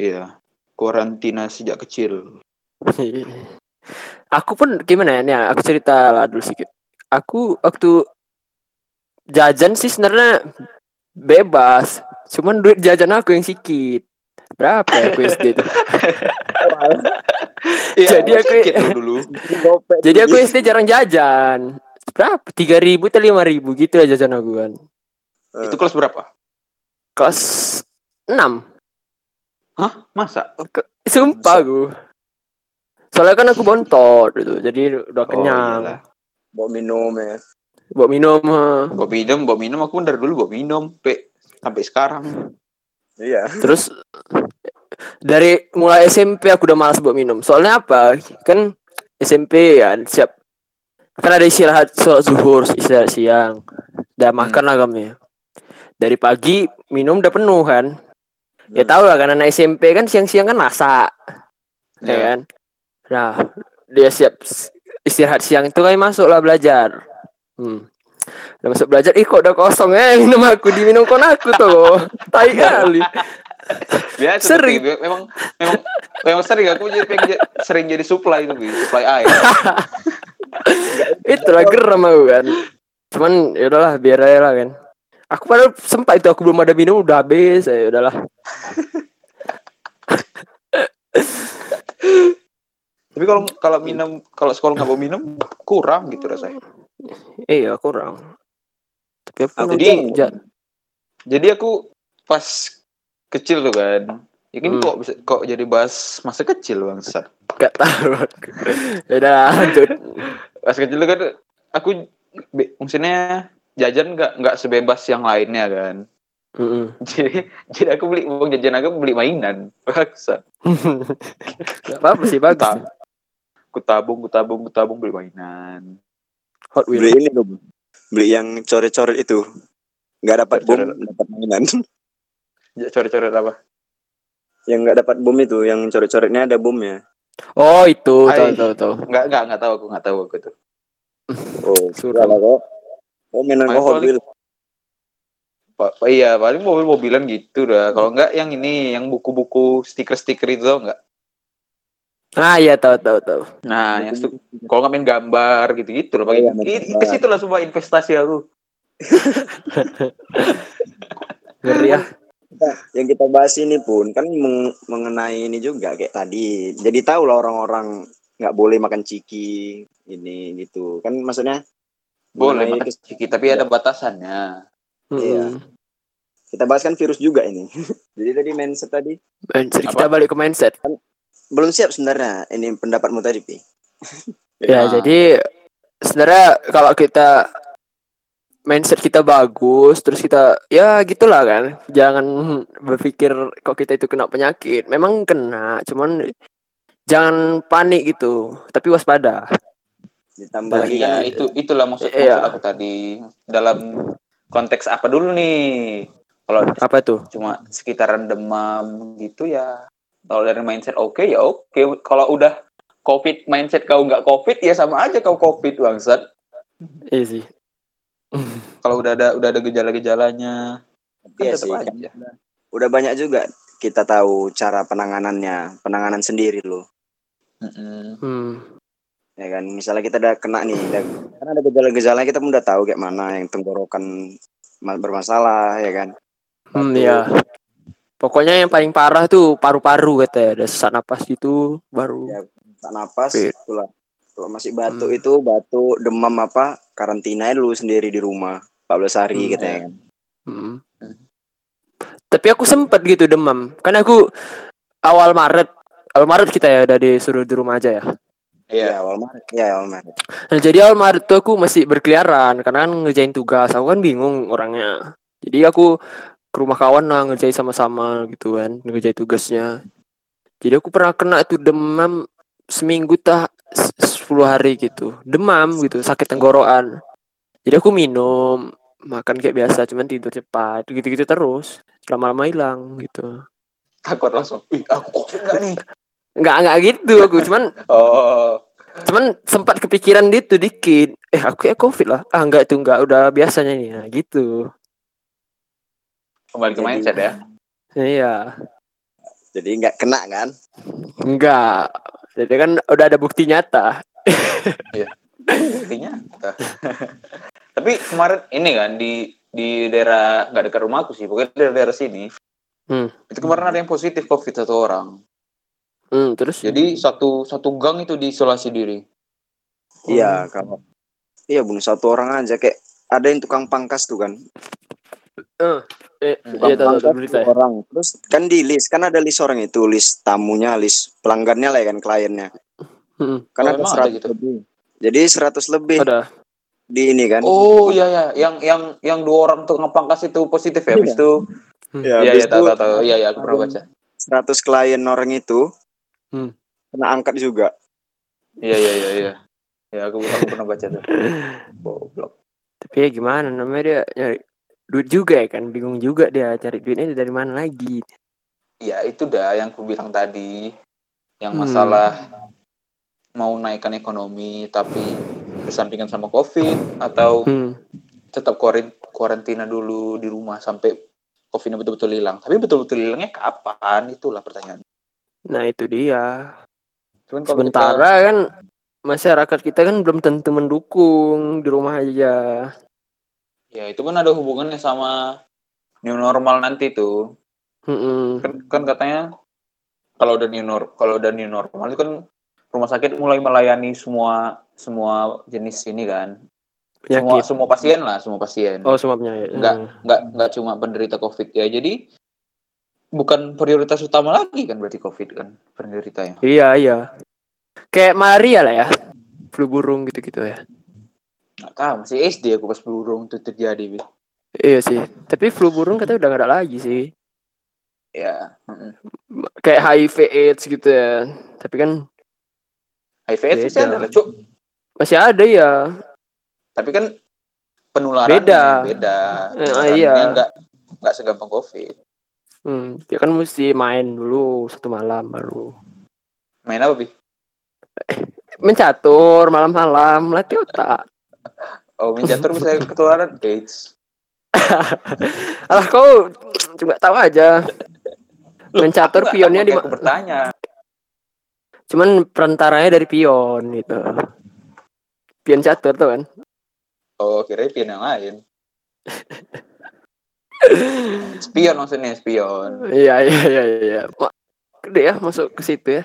Speaker 2: iya karantina sejak kecil
Speaker 1: aku pun gimana ya nih aku cerita lah dulu sedikit aku waktu jajan sih sebenarnya bebas cuman duit jajan aku yang sedikit berapa ya aku SD tuh
Speaker 2: Iya,
Speaker 1: Jadi
Speaker 2: jadi
Speaker 1: aku- ya-
Speaker 2: aku sakit tuh dulu.
Speaker 1: jadi aku
Speaker 3: iya,
Speaker 1: SD jarang jajan berapa tiga ribu atau lima ribu gitu lah jajan aku kan
Speaker 2: Itu kelas berapa?
Speaker 1: kelas enam
Speaker 2: Hah? Masa?
Speaker 1: sumpah
Speaker 3: Masa?
Speaker 1: aku soalnya kan aku bontot gitu jadi
Speaker 2: Oh,
Speaker 1: udah kenyang
Speaker 2: iyalah.
Speaker 3: mau minum ya.
Speaker 1: buat minum eh.
Speaker 2: Bawa minum, bawa minum. Aku dari dulu bawa minum. Pe, sampai sekarang.
Speaker 3: Iya.
Speaker 1: Terus dari mulai SMP aku udah malas buat minum. Soalnya apa? Kan SMP ya siap kan ada istirahat sholat zuhur, istirahat siang. Udah makan lah kami. Dari pagi minum udah penuh kan. Ya
Speaker 3: Hmm.
Speaker 1: tau lah kan anak SMP kan siang-siang kan masak, ya
Speaker 2: Ya.
Speaker 1: kan. Nah, dia siap istirahat siang itu kan masuk lah belajar. Hmm. Udah masuk belajar, ih kok udah kosong eh minum aku diminum kon aku tuh. Tai kali.
Speaker 2: Biasa
Speaker 1: Sering.
Speaker 2: sering. memang, memang, memang sering. Aku jadi, pengen jadi- sering jadi supply itu, Bi. supply air.
Speaker 1: Itulah geram aku kan. Cuman ya udahlah biar aja lah kan. Aku padahal sempat itu aku belum ada minum udah habis ya udahlah.
Speaker 2: Tapi kalau kalau minum, kalau sekolah nggak bawa minum, kurang gitu rasanya.
Speaker 1: Iya kurang. Tapi aku
Speaker 3: Aku
Speaker 1: nanti
Speaker 2: bingung.
Speaker 1: ja-
Speaker 2: Jadi aku pas kecil tuh kan. Ya kan
Speaker 1: Hmm.
Speaker 2: kok bisa kok jadi bahas masa kecil bangsat.
Speaker 1: gak tahu. aku. Yaudah lanjut.
Speaker 2: Pas kecil tuh kan aku be- maksudnya jajan nggak nggak sebebas yang lainnya kan.
Speaker 1: Mm-mm.
Speaker 2: (laughs) Jadi jadi aku beli uang jajan aku beli mainan. Bangsat.
Speaker 1: Gak apa-apa sih bagus.
Speaker 2: Kutab- Kutabung, kutabung, kutabung beli mainan.
Speaker 1: Hot
Speaker 3: beli
Speaker 1: Wheels.
Speaker 3: ini dong beli yang coret-coret itu nggak dapat bom
Speaker 2: Coret-coret.
Speaker 3: dapat mainan (laughs)
Speaker 2: Ya, Coret-coret apa?
Speaker 3: yang nggak dapat bom itu yang coret-coretnya ada bomnya
Speaker 1: Oh itu tahu
Speaker 2: Hai.
Speaker 1: tahu tahu.
Speaker 2: Nggak nggak nggak tahu aku nggak tahu aku tuh.
Speaker 3: oh
Speaker 1: Suruh.
Speaker 3: salah kok oh mainan
Speaker 2: Main
Speaker 3: kok Hot
Speaker 2: paling-
Speaker 3: Wheels.
Speaker 2: Pa- pa- iya paling mobil-mobilan gitu dah. Kalau nggak yang ini yang buku-buku stiker-stiker itu tau nggak?
Speaker 1: Ah iya tahu tahu tahu.
Speaker 2: Nah, yang stu- kalau nggak main gambar gitu-gitu loh. Pakai
Speaker 3: Iya, main
Speaker 2: i- i-
Speaker 3: gambar.
Speaker 2: ke situ lah semua investasi aku.
Speaker 1: Ngeri ya.
Speaker 3: yang kita bahas ini pun kan meng- mengenai ini juga kayak tadi jadi tahu lah orang-orang nggak boleh makan ciki ini gitu kan maksudnya
Speaker 2: Boleh
Speaker 3: mengenai
Speaker 2: makan
Speaker 3: kes-
Speaker 2: ciki, tapi ada batasannya.
Speaker 3: Iya.
Speaker 1: Mm-mm.
Speaker 3: kita bahas kan virus juga ini (laughs) jadi tadi mindset tadi
Speaker 1: Mindset,
Speaker 2: Apa?
Speaker 1: kita balik ke mindset.
Speaker 3: belum siap sebenarnya ini pendapatmu tadi pi
Speaker 1: Ya,
Speaker 2: Nah,
Speaker 1: jadi sebenarnya kalau kita mindset kita bagus, terus kita ya gitulah kan. Jangan berpikir kok kita itu kena penyakit. Memang kena, cuman jangan panik gitu, tapi waspada.
Speaker 3: ditambah
Speaker 1: Nah,
Speaker 3: lagi
Speaker 2: iya,
Speaker 3: kan
Speaker 2: itu itulah maksud,
Speaker 1: Iya.
Speaker 2: maksud aku tadi dalam konteks apa dulu nih? Kalau
Speaker 1: Apa tuh?
Speaker 2: cuma sekitaran demam gitu ya. Kalau dari mindset oke ya oke. Kalau udah covid mindset kau nggak covid ya sama aja kau covid bangsat.
Speaker 1: Iya sih.
Speaker 2: Kalau udah ada udah ada gejala-gejalanya kan
Speaker 3: Iya
Speaker 2: tetap
Speaker 3: sih.
Speaker 2: aja.
Speaker 3: udah banyak juga kita tahu cara penanganannya penanganan sendiri loh
Speaker 2: Mm-mm.
Speaker 1: Hmm.
Speaker 3: ya kan misalnya kita udah kena nih udah, karena ada gejala-gejala kita pun udah tahu kayak mana yang tenggorokan ma- bermasalah ya kan
Speaker 1: Hmm,
Speaker 3: Satu.
Speaker 1: ya. Pokoknya yang paling parah tuh paru-paru katanya, ada sesak napas gitu baru.
Speaker 3: Ya. tak napas
Speaker 1: Iya.
Speaker 3: itulah kalau masih batuk
Speaker 1: Hmm.
Speaker 3: itu batuk demam apa karantina dulu sendiri di rumah 14 hari
Speaker 1: Hmm,
Speaker 3: kita
Speaker 2: Iya.
Speaker 3: ya kan
Speaker 1: Mm. Tapi aku sempet gitu demam. Kan aku awal Maret, awal Maret kita ya udah disuruh di rumah aja ya.
Speaker 2: Iya.
Speaker 3: ya awal Maret ya awal Maret
Speaker 1: Nah, jadi awal Maret tuh aku masih berkeliaran karena kan ngerjain tugas. Aku kan bingung orangnya. Jadi aku ke rumah kawan lah ngerjain sama-sama gitu kan, ngerjain tugasnya. Jadi aku pernah kena tuh demam seminggu tah se- 10 hari gitu. Demam gitu, sakit tenggorokan. Jadi aku minum, makan kayak biasa cuman tidur cepat gitu-gitu terus. Lama-lama hilang gitu.
Speaker 2: Takut langsung. Ih, aku covid nggak (laughs) nih?
Speaker 1: Enggak enggak gitu aku cuman
Speaker 2: Oh.
Speaker 1: cuman sempat kepikiran gitu dikit eh aku ya covid lah ah enggak itu enggak udah biasanya nih nah, gitu
Speaker 2: kembali ke
Speaker 3: Jadi-
Speaker 2: mindset ya
Speaker 1: iya
Speaker 3: jadi nggak kena kan
Speaker 1: enggak jadi kan udah ada bukti nyata
Speaker 2: intinya (laughs) tapi kemarin ini kan di di daerah nggak dekat rumahku sih pokoknya daerah, daerah sini
Speaker 1: Hmm.
Speaker 2: itu kemarin ada yang positif covid satu orang
Speaker 1: hmm, terus
Speaker 2: jadi satu satu gang itu diisolasi diri Hmm.
Speaker 3: iya kalau iya bunuh satu orang aja kayak ada yang tukang pangkas tuh kan
Speaker 1: eh,
Speaker 2: Hmm.
Speaker 1: iya tahu tahu
Speaker 3: Pangkas
Speaker 1: berita ya.
Speaker 3: orang terus kan di list kan ada list orang itu list tamunya list pelanggannya lah ya kan kliennya
Speaker 1: Hmm,
Speaker 3: karena
Speaker 2: Oh, emang ada gitu?
Speaker 3: lebih jadi 100 lebih
Speaker 1: ada
Speaker 3: di ini kan
Speaker 2: oh iya ya yang yang yang dua orang tuh ngepangkas itu positif ya habis itu
Speaker 3: ya,
Speaker 2: iya
Speaker 3: habis
Speaker 2: iya tahu
Speaker 3: itu
Speaker 2: tahu tahu iya iya aku pernah baca
Speaker 3: 100 klien orang itu
Speaker 1: Hmm.
Speaker 3: kena angkat juga
Speaker 2: iya iya iya iya ya aku aku pernah baca tuh Goblok.
Speaker 1: tapi ya gimana namanya dia nyari duit juga ya kan bingung juga dia cari duitnya dari mana lagi
Speaker 2: ya itu dah yang aku bilang tadi yang
Speaker 1: Hmm.
Speaker 2: masalah mau naikkan ekonomi tapi bersampingan sama covid atau
Speaker 1: hmm.
Speaker 2: tetap kuarin- kuarantina dulu di rumah sampai covid betul-betul hilang tapi betul-betul hilangnya kapan itulah pertanyaan
Speaker 1: nah itu dia
Speaker 2: Cuman kalau kita-
Speaker 1: Sementara kan masyarakat kita kan belum tentu mendukung di rumah aja.
Speaker 2: ya itu kan ada hubungannya sama new normal nanti tuh
Speaker 1: Mm-mm.
Speaker 2: kan, kan katanya kalau udah new nor- kalau udah new normal itu kan rumah sakit mulai melayani semua semua jenis ini kan semua
Speaker 1: penyakit
Speaker 2: semua pasien lah semua
Speaker 1: Ya,
Speaker 2: pasien
Speaker 1: gitu. oh semua penyakit
Speaker 2: Enggak.
Speaker 1: Hmm.
Speaker 2: nggak nggak cuma penderita covid ya jadi bukan prioritas utama lagi kan berarti covid kan penderitanya
Speaker 1: iya iya kayak malaria lah ya flu burung gitu gitu ya
Speaker 2: nggak tahu masih sd aku pas burung itu terjadi Bi.
Speaker 1: iya sih tapi flu burung katanya udah nggak ada lagi sih
Speaker 2: ya mm-mm.
Speaker 1: kayak HIV AIDS gitu ya tapi kan
Speaker 2: hiv aids masih
Speaker 1: Beda.
Speaker 2: ada lah, Cuk.
Speaker 1: masih ada ya
Speaker 2: tapi kan penularan
Speaker 1: Beda.
Speaker 2: beda
Speaker 1: Eh,
Speaker 2: Penularannya
Speaker 1: iya.
Speaker 2: nggak nggak segampang covid
Speaker 1: hmm, dia kan mesti main dulu satu malam baru
Speaker 2: main apa bi
Speaker 1: mencatur malam-malam latih otak
Speaker 2: oh main catur
Speaker 1: (laughs)
Speaker 2: bisa ketularan aids
Speaker 1: alah kau cuma tahu aja mencatur
Speaker 2: Nggak,
Speaker 1: pionnya di
Speaker 2: makanya aku bertanya
Speaker 1: cuman perantaranya dari pion gitu pion catur tuh kan
Speaker 2: oh kira pion yang
Speaker 1: (laughs)
Speaker 2: lain spion maksudnya spion
Speaker 1: iya iya iya iya Ma- gede ya masuk ke situ ya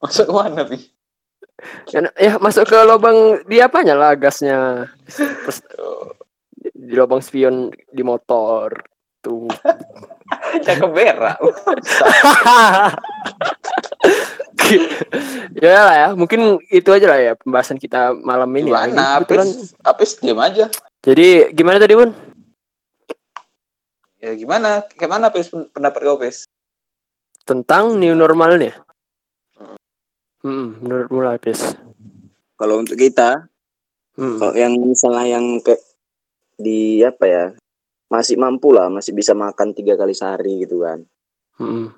Speaker 2: masuk mana bi
Speaker 1: Kan- ya masuk ke lubang di apanya lah gasnya
Speaker 2: oh,
Speaker 1: di lubang spion di motor tuh
Speaker 2: cakep berak
Speaker 1: ya lah ya mungkin itu aja lah ya pembahasan kita malam ini ya.
Speaker 2: gimana
Speaker 1: Kebetulan-
Speaker 2: apis apis diam aja
Speaker 1: jadi gimana tadi bun
Speaker 2: ya gimana gimana apis pen- pendapat kau apis
Speaker 1: tentang new normalnya hmm, menurut mulai pes
Speaker 3: Kalau untuk kita,
Speaker 1: Hmm,
Speaker 3: kalau yang misalnya yang kayak di apa ya, masih mampu lah, masih bisa makan tiga kali sehari gitu kan.
Speaker 1: hmm.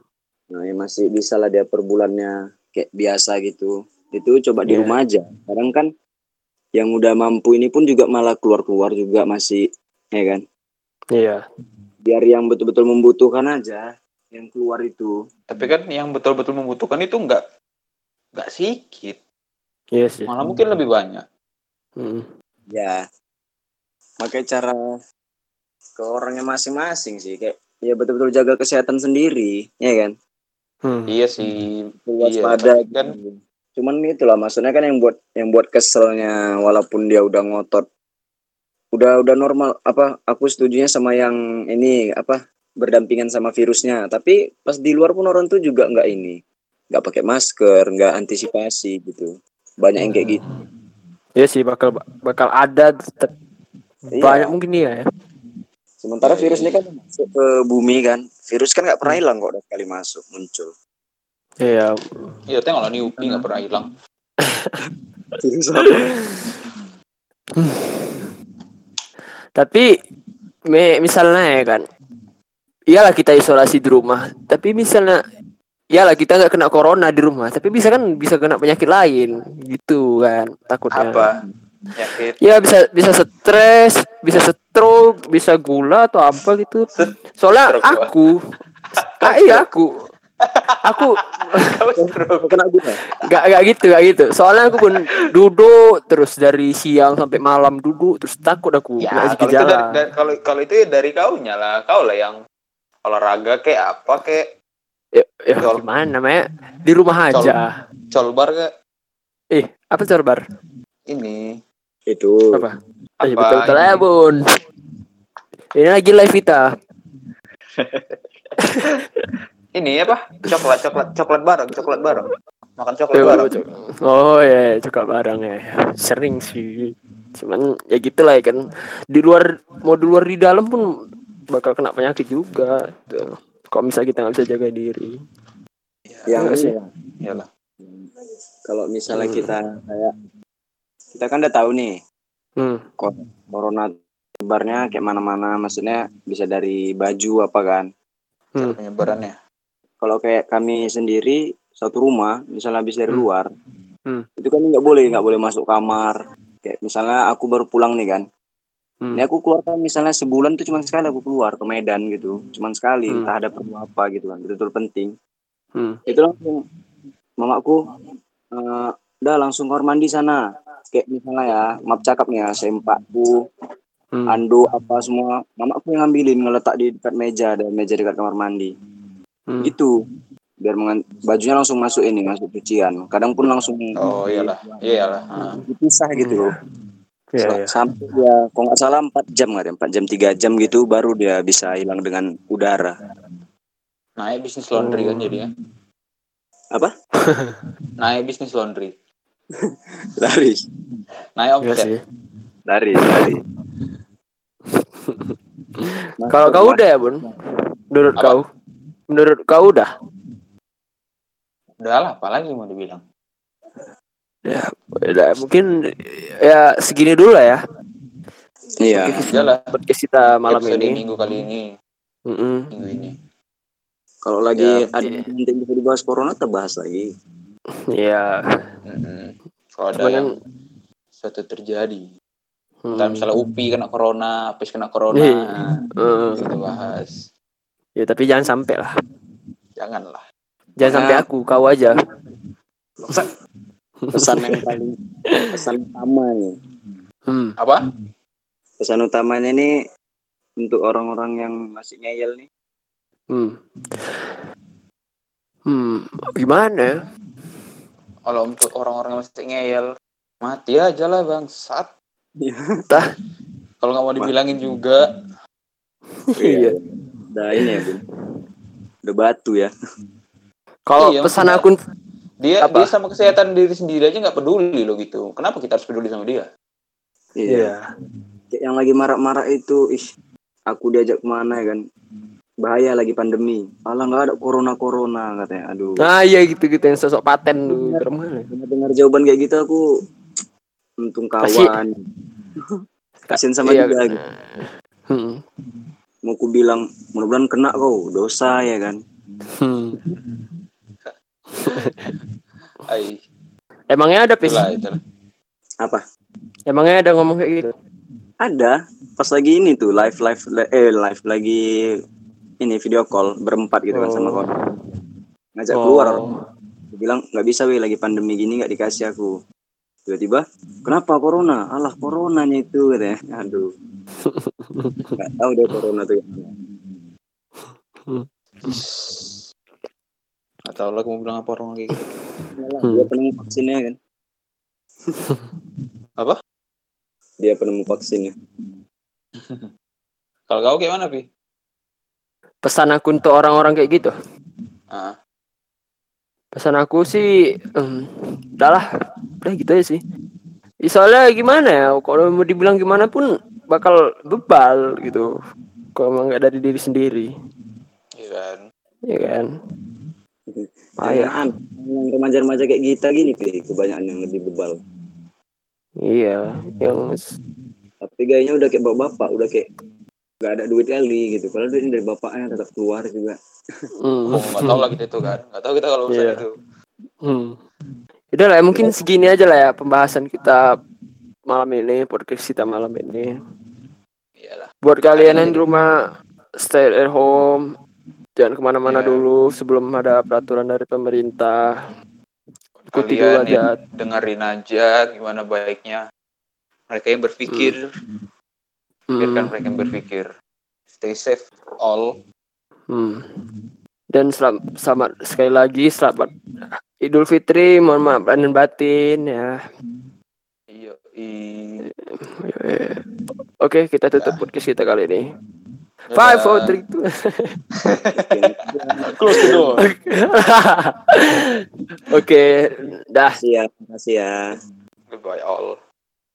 Speaker 3: Nah, yang masih bisa lah dia per bulannya kayak biasa gitu. Itu coba di
Speaker 1: Iya.
Speaker 3: rumah aja. Sekarang kan yang udah mampu ini pun juga malah keluar-keluar juga masih ya kan.
Speaker 1: iya
Speaker 3: Biar yang betul-betul membutuhkan aja yang keluar itu.
Speaker 2: tapi kan yang betul-betul membutuhkan itu nggak nggak sedikit
Speaker 1: iya sih
Speaker 2: malah mungkin lebih banyak
Speaker 1: Mm.
Speaker 3: Ya. Pakai cara ke orangnya masing-masing sih kayak ya betul-betul jaga kesehatan sendiri, ya kan?
Speaker 1: Hmm.
Speaker 2: iya sih Iya,
Speaker 3: waspada
Speaker 2: tapi kan-
Speaker 3: gitu. cuman itulah maksudnya kan yang buat yang buat keselnya walaupun dia udah ngotot udah udah normal apa aku setujunya sama yang ini apa berdampingan sama virusnya tapi pas di luar pun orang tuh juga nggak ini nggak pakai masker nggak antisipasi gitu banyak yang
Speaker 2: Hmm.
Speaker 3: kayak gitu
Speaker 1: Iya sih bakal bakal ada tetep.
Speaker 3: Iya.
Speaker 1: banyak mungkin iya ya.
Speaker 3: sementara
Speaker 2: Iya,
Speaker 3: virus
Speaker 2: iya,
Speaker 3: ini kan masuk ke bumi kan virus kan nggak pernah hilang kok udah sekali masuk muncul
Speaker 1: Iya.
Speaker 2: iya tengok lah nih Upi nggak pernah hilang
Speaker 3: virus apa?
Speaker 1: Tapi me- misalnya ya kan. Iyalah kita isolasi di rumah, tapi misalnya iyalah kita nggak kena corona di rumah, tapi bisa kan bisa kena penyakit lain gitu kan takutnya.
Speaker 2: apa (laughs) penyakit
Speaker 1: Ya bisa bisa stres, bisa stroke, bisa gula atau apa gitu. Soalnya
Speaker 2: Stroke gua.
Speaker 1: aku ah, iya aku aku
Speaker 2: Kau stroke.
Speaker 3: kena guna
Speaker 1: Gak, gak gitu, gak gitu. Soalnya aku pun duduk terus dari siang sampai malam duduk terus takut aku
Speaker 2: ya
Speaker 1: kena
Speaker 2: kalau itu
Speaker 1: gejala.
Speaker 2: dari, dari- kalau kalau itu ya dari kaunya lah kau lah yang olahraga kayak apa kayak
Speaker 1: Ya, ya,
Speaker 2: Col-
Speaker 1: gimana namanya? Di rumah
Speaker 2: Col-
Speaker 1: aja.
Speaker 2: colbar kayak
Speaker 1: Eh, apa corbar?
Speaker 2: ini
Speaker 3: itu
Speaker 1: Apa? Eh,
Speaker 2: Apa
Speaker 1: betul betul
Speaker 2: ini?
Speaker 1: ya, Bun. Ini lagi live kita.
Speaker 2: ini apa coklat coklat coklat bareng coklat bareng makan coklat
Speaker 1: Tuh,
Speaker 2: bareng
Speaker 1: cok- Oh ya, juga barang ya. Sering sih. Cuman ya gitulah ya kan. Di luar mau di luar di dalam pun bakal kena penyakit juga. Tuh. Kalau misalnya kita nggak bisa jaga diri.
Speaker 3: yang
Speaker 1: Iya sih.
Speaker 3: ini
Speaker 2: Iyalah.
Speaker 3: kalau misalnya
Speaker 1: Hmm.
Speaker 3: kita kayak kita kan udah tahu nih
Speaker 1: Hmm.
Speaker 3: corona tebarnya kayak mana-mana maksudnya bisa dari baju apa kan
Speaker 1: Hmm.
Speaker 2: penyebarannya
Speaker 3: kalau kayak kami sendiri satu rumah misalnya habis dari
Speaker 1: Hmm.
Speaker 3: luar
Speaker 1: Hmm.
Speaker 3: itu kan nggak boleh nggak boleh masuk kamar kayak misalnya aku baru pulang nih kan
Speaker 1: Hmm.
Speaker 3: ini aku keluar kan misalnya sebulan tuh cuma sekali aku keluar ke Medan gitu cuman sekali
Speaker 1: Hmm.
Speaker 3: entah ada perlu apa gitu kan betul penting
Speaker 1: Hmm.
Speaker 3: itu langsung mamaku eh, udah langsung kamar mandi sana kayak misalnya ya maaf cakap nih ya sempakku
Speaker 1: Hmm.
Speaker 3: Ando apa semua mama aku yang ngambilin ngeletak di dekat meja dan meja dekat kamar mandi
Speaker 1: Hmm.
Speaker 3: gitu biar mengan- bajunya langsung
Speaker 1: Oh,
Speaker 3: masuk
Speaker 2: iya
Speaker 3: ini masuk cucian kadang pun langsung
Speaker 1: Hmm.
Speaker 2: oh iyalah iyalah Ah.
Speaker 3: dipisah gitu loh
Speaker 1: Iya, iya.
Speaker 3: sampai ya kalau nggak salah 4 jam nggak deh, 4 jam 3 jam gitu baru dia bisa hilang dengan udara (laughs)
Speaker 2: Naik bisnis laundry kan jadi ya.
Speaker 3: Apa?
Speaker 2: (laughs) Naik bisnis laundry.
Speaker 3: laris
Speaker 2: Naik
Speaker 1: Iya
Speaker 2: omset.
Speaker 1: sih.
Speaker 3: laris
Speaker 1: (laughs)
Speaker 3: laris
Speaker 1: Kalau kau udah ya, Bun? Menurut
Speaker 2: Apa?
Speaker 1: kau? Menurut kau udah?
Speaker 2: Udah lah, apalagi mau
Speaker 1: (laughs)
Speaker 2: dibilang.
Speaker 1: Ya, udah. mungkin ya segini dulu lah ya
Speaker 3: iya
Speaker 2: Udah lah.
Speaker 1: podcast kita malam
Speaker 2: episode
Speaker 1: ini.
Speaker 2: minggu kali ini,
Speaker 1: Mm-mm.
Speaker 2: minggu ini.
Speaker 3: kalau lagi
Speaker 2: Ya,
Speaker 3: ada
Speaker 1: iya.
Speaker 3: yang bisa dibahas corona terbahas lagi
Speaker 1: Iya.
Speaker 2: Mm-mm. Kalau ada
Speaker 1: Cuman
Speaker 2: yang
Speaker 1: kan-
Speaker 2: suatu terjadi,
Speaker 1: Hmm.
Speaker 2: Entah misalnya Upi kena corona, Apis kena corona,
Speaker 1: Iya. Eh,
Speaker 2: kita bahas.
Speaker 1: Ya tapi jangan sampai lah.
Speaker 2: Janganlah.
Speaker 1: Jangan
Speaker 3: Nah.
Speaker 1: sampai aku, kau aja.
Speaker 3: pesan yang paling
Speaker 1: (laughs)
Speaker 3: pesan utama nih
Speaker 1: Hmm.
Speaker 2: Apa?
Speaker 3: pesan utamanya nih untuk orang-orang yang masih ngeyel nih
Speaker 1: Hmm. Hmm. Gimana? ya?
Speaker 2: Kalau untuk orang-orang yang masih ngeyel, mati aja lah bangsat.
Speaker 1: Iya. Tah.
Speaker 2: (laughs) Kalau nggak mau dibilangin juga,
Speaker 1: Iya.
Speaker 3: udah ini ya bun udah batu ya
Speaker 1: Kalau
Speaker 2: Iya,
Speaker 1: pesan
Speaker 2: maksudnya-
Speaker 1: aku
Speaker 2: dia
Speaker 1: Apa?
Speaker 2: dia sama kesehatan diri sendiri aja nggak peduli loh gitu. Kenapa kita harus peduli sama dia?
Speaker 1: Iya.
Speaker 3: Kayak yang lagi marak-marak itu ih aku diajak kemana ya kan bahaya lagi pandemi malah nggak ada corona corona katanya aduh
Speaker 1: Nah, iya gitu-gitu yang sosok paten tuh. Keren banget.
Speaker 3: dengar dengar jawaban kayak gitu aku untung
Speaker 1: Kasih-
Speaker 3: kawan kasian sama
Speaker 1: Iya.
Speaker 3: dia gitu.
Speaker 1: Hmm.
Speaker 3: mau ku bilang mudah-mudahan kena kau dosa ya kan
Speaker 1: Hmm.
Speaker 2: Ai,
Speaker 1: Emangnya ada pis?
Speaker 2: itulah itulah.
Speaker 3: apa
Speaker 1: Emangnya ada ngomong kayak gitu?
Speaker 3: ada pas lagi ini tuh live live li- eh live lagi ini video call berempat gitu kan sama
Speaker 1: Oh.
Speaker 3: kawan ngajak keluar
Speaker 1: Oh.
Speaker 3: Dia bilang nggak bisa weh lagi pandemi gini nggak dikasih aku tiba-tiba kenapa corona alah coronanya itu katanya aduh nggak tahu deh corona tuh
Speaker 2: Atau lo mau bilang apa orang kayak gitu?
Speaker 3: Malah
Speaker 1: Hmm.
Speaker 3: dia penemu vaksinnya kan
Speaker 2: Apa?
Speaker 3: dia penemu vaksinnya
Speaker 2: Kalau kau gimana pi?
Speaker 1: Pesan aku untuk orang-orang kayak gitu.
Speaker 2: Ah,
Speaker 1: Pesan aku sih, em, udah lah, udah gitu aja sih. Ya, soalnya gimana ya, kalau mau dibilang gimana pun bakal bebal gitu. Kalau emang nggak dari diri sendiri,
Speaker 2: iya kan.
Speaker 1: ya kan? Payah.
Speaker 3: Kebanyakan yang remaja-remaja kayak kita gini Pi, kebanyakan yang lebih bebal
Speaker 1: Iya, yang s-
Speaker 3: tapi gayanya udah kayak bapak-bapak udah kayak nggak ada duit kali gitu kalau duitnya dari bapaknya tetap keluar juga
Speaker 1: mm,
Speaker 2: Oh,
Speaker 1: (laughs)
Speaker 2: nggak tahu lah kita itu kan. Nggak tahu kita kalau urusan
Speaker 1: Iya.
Speaker 2: itu.
Speaker 1: mm. Udah lah, mungkin segini aja lah ya pembahasan kita malam ini, podcast kita malam ini.
Speaker 2: Iyalah.
Speaker 1: Buat kalian yang di rumah stay at home, jangan kemana-mana
Speaker 2: Iya.
Speaker 1: dulu sebelum ada peraturan dari pemerintah. Ikuti dulu
Speaker 2: Kalian
Speaker 1: aja.
Speaker 2: yang dengerin aja gimana baiknya. Mereka yang berpikir, biarkan
Speaker 1: Hmm,
Speaker 2: mereka yang berpikir. Stay safe all.
Speaker 1: hmm. Dan selam- selamat sekali lagi selamat Idul Fitri, mohon maaf lahir dan batin ya.
Speaker 2: Iya.
Speaker 1: Oke, kita tutup podcast kita kali ini. Five, four, three, two. (laughs)
Speaker 2: Close the door.
Speaker 1: Oke, dah.
Speaker 3: Makasih ya makasih ya
Speaker 2: Goodbye all.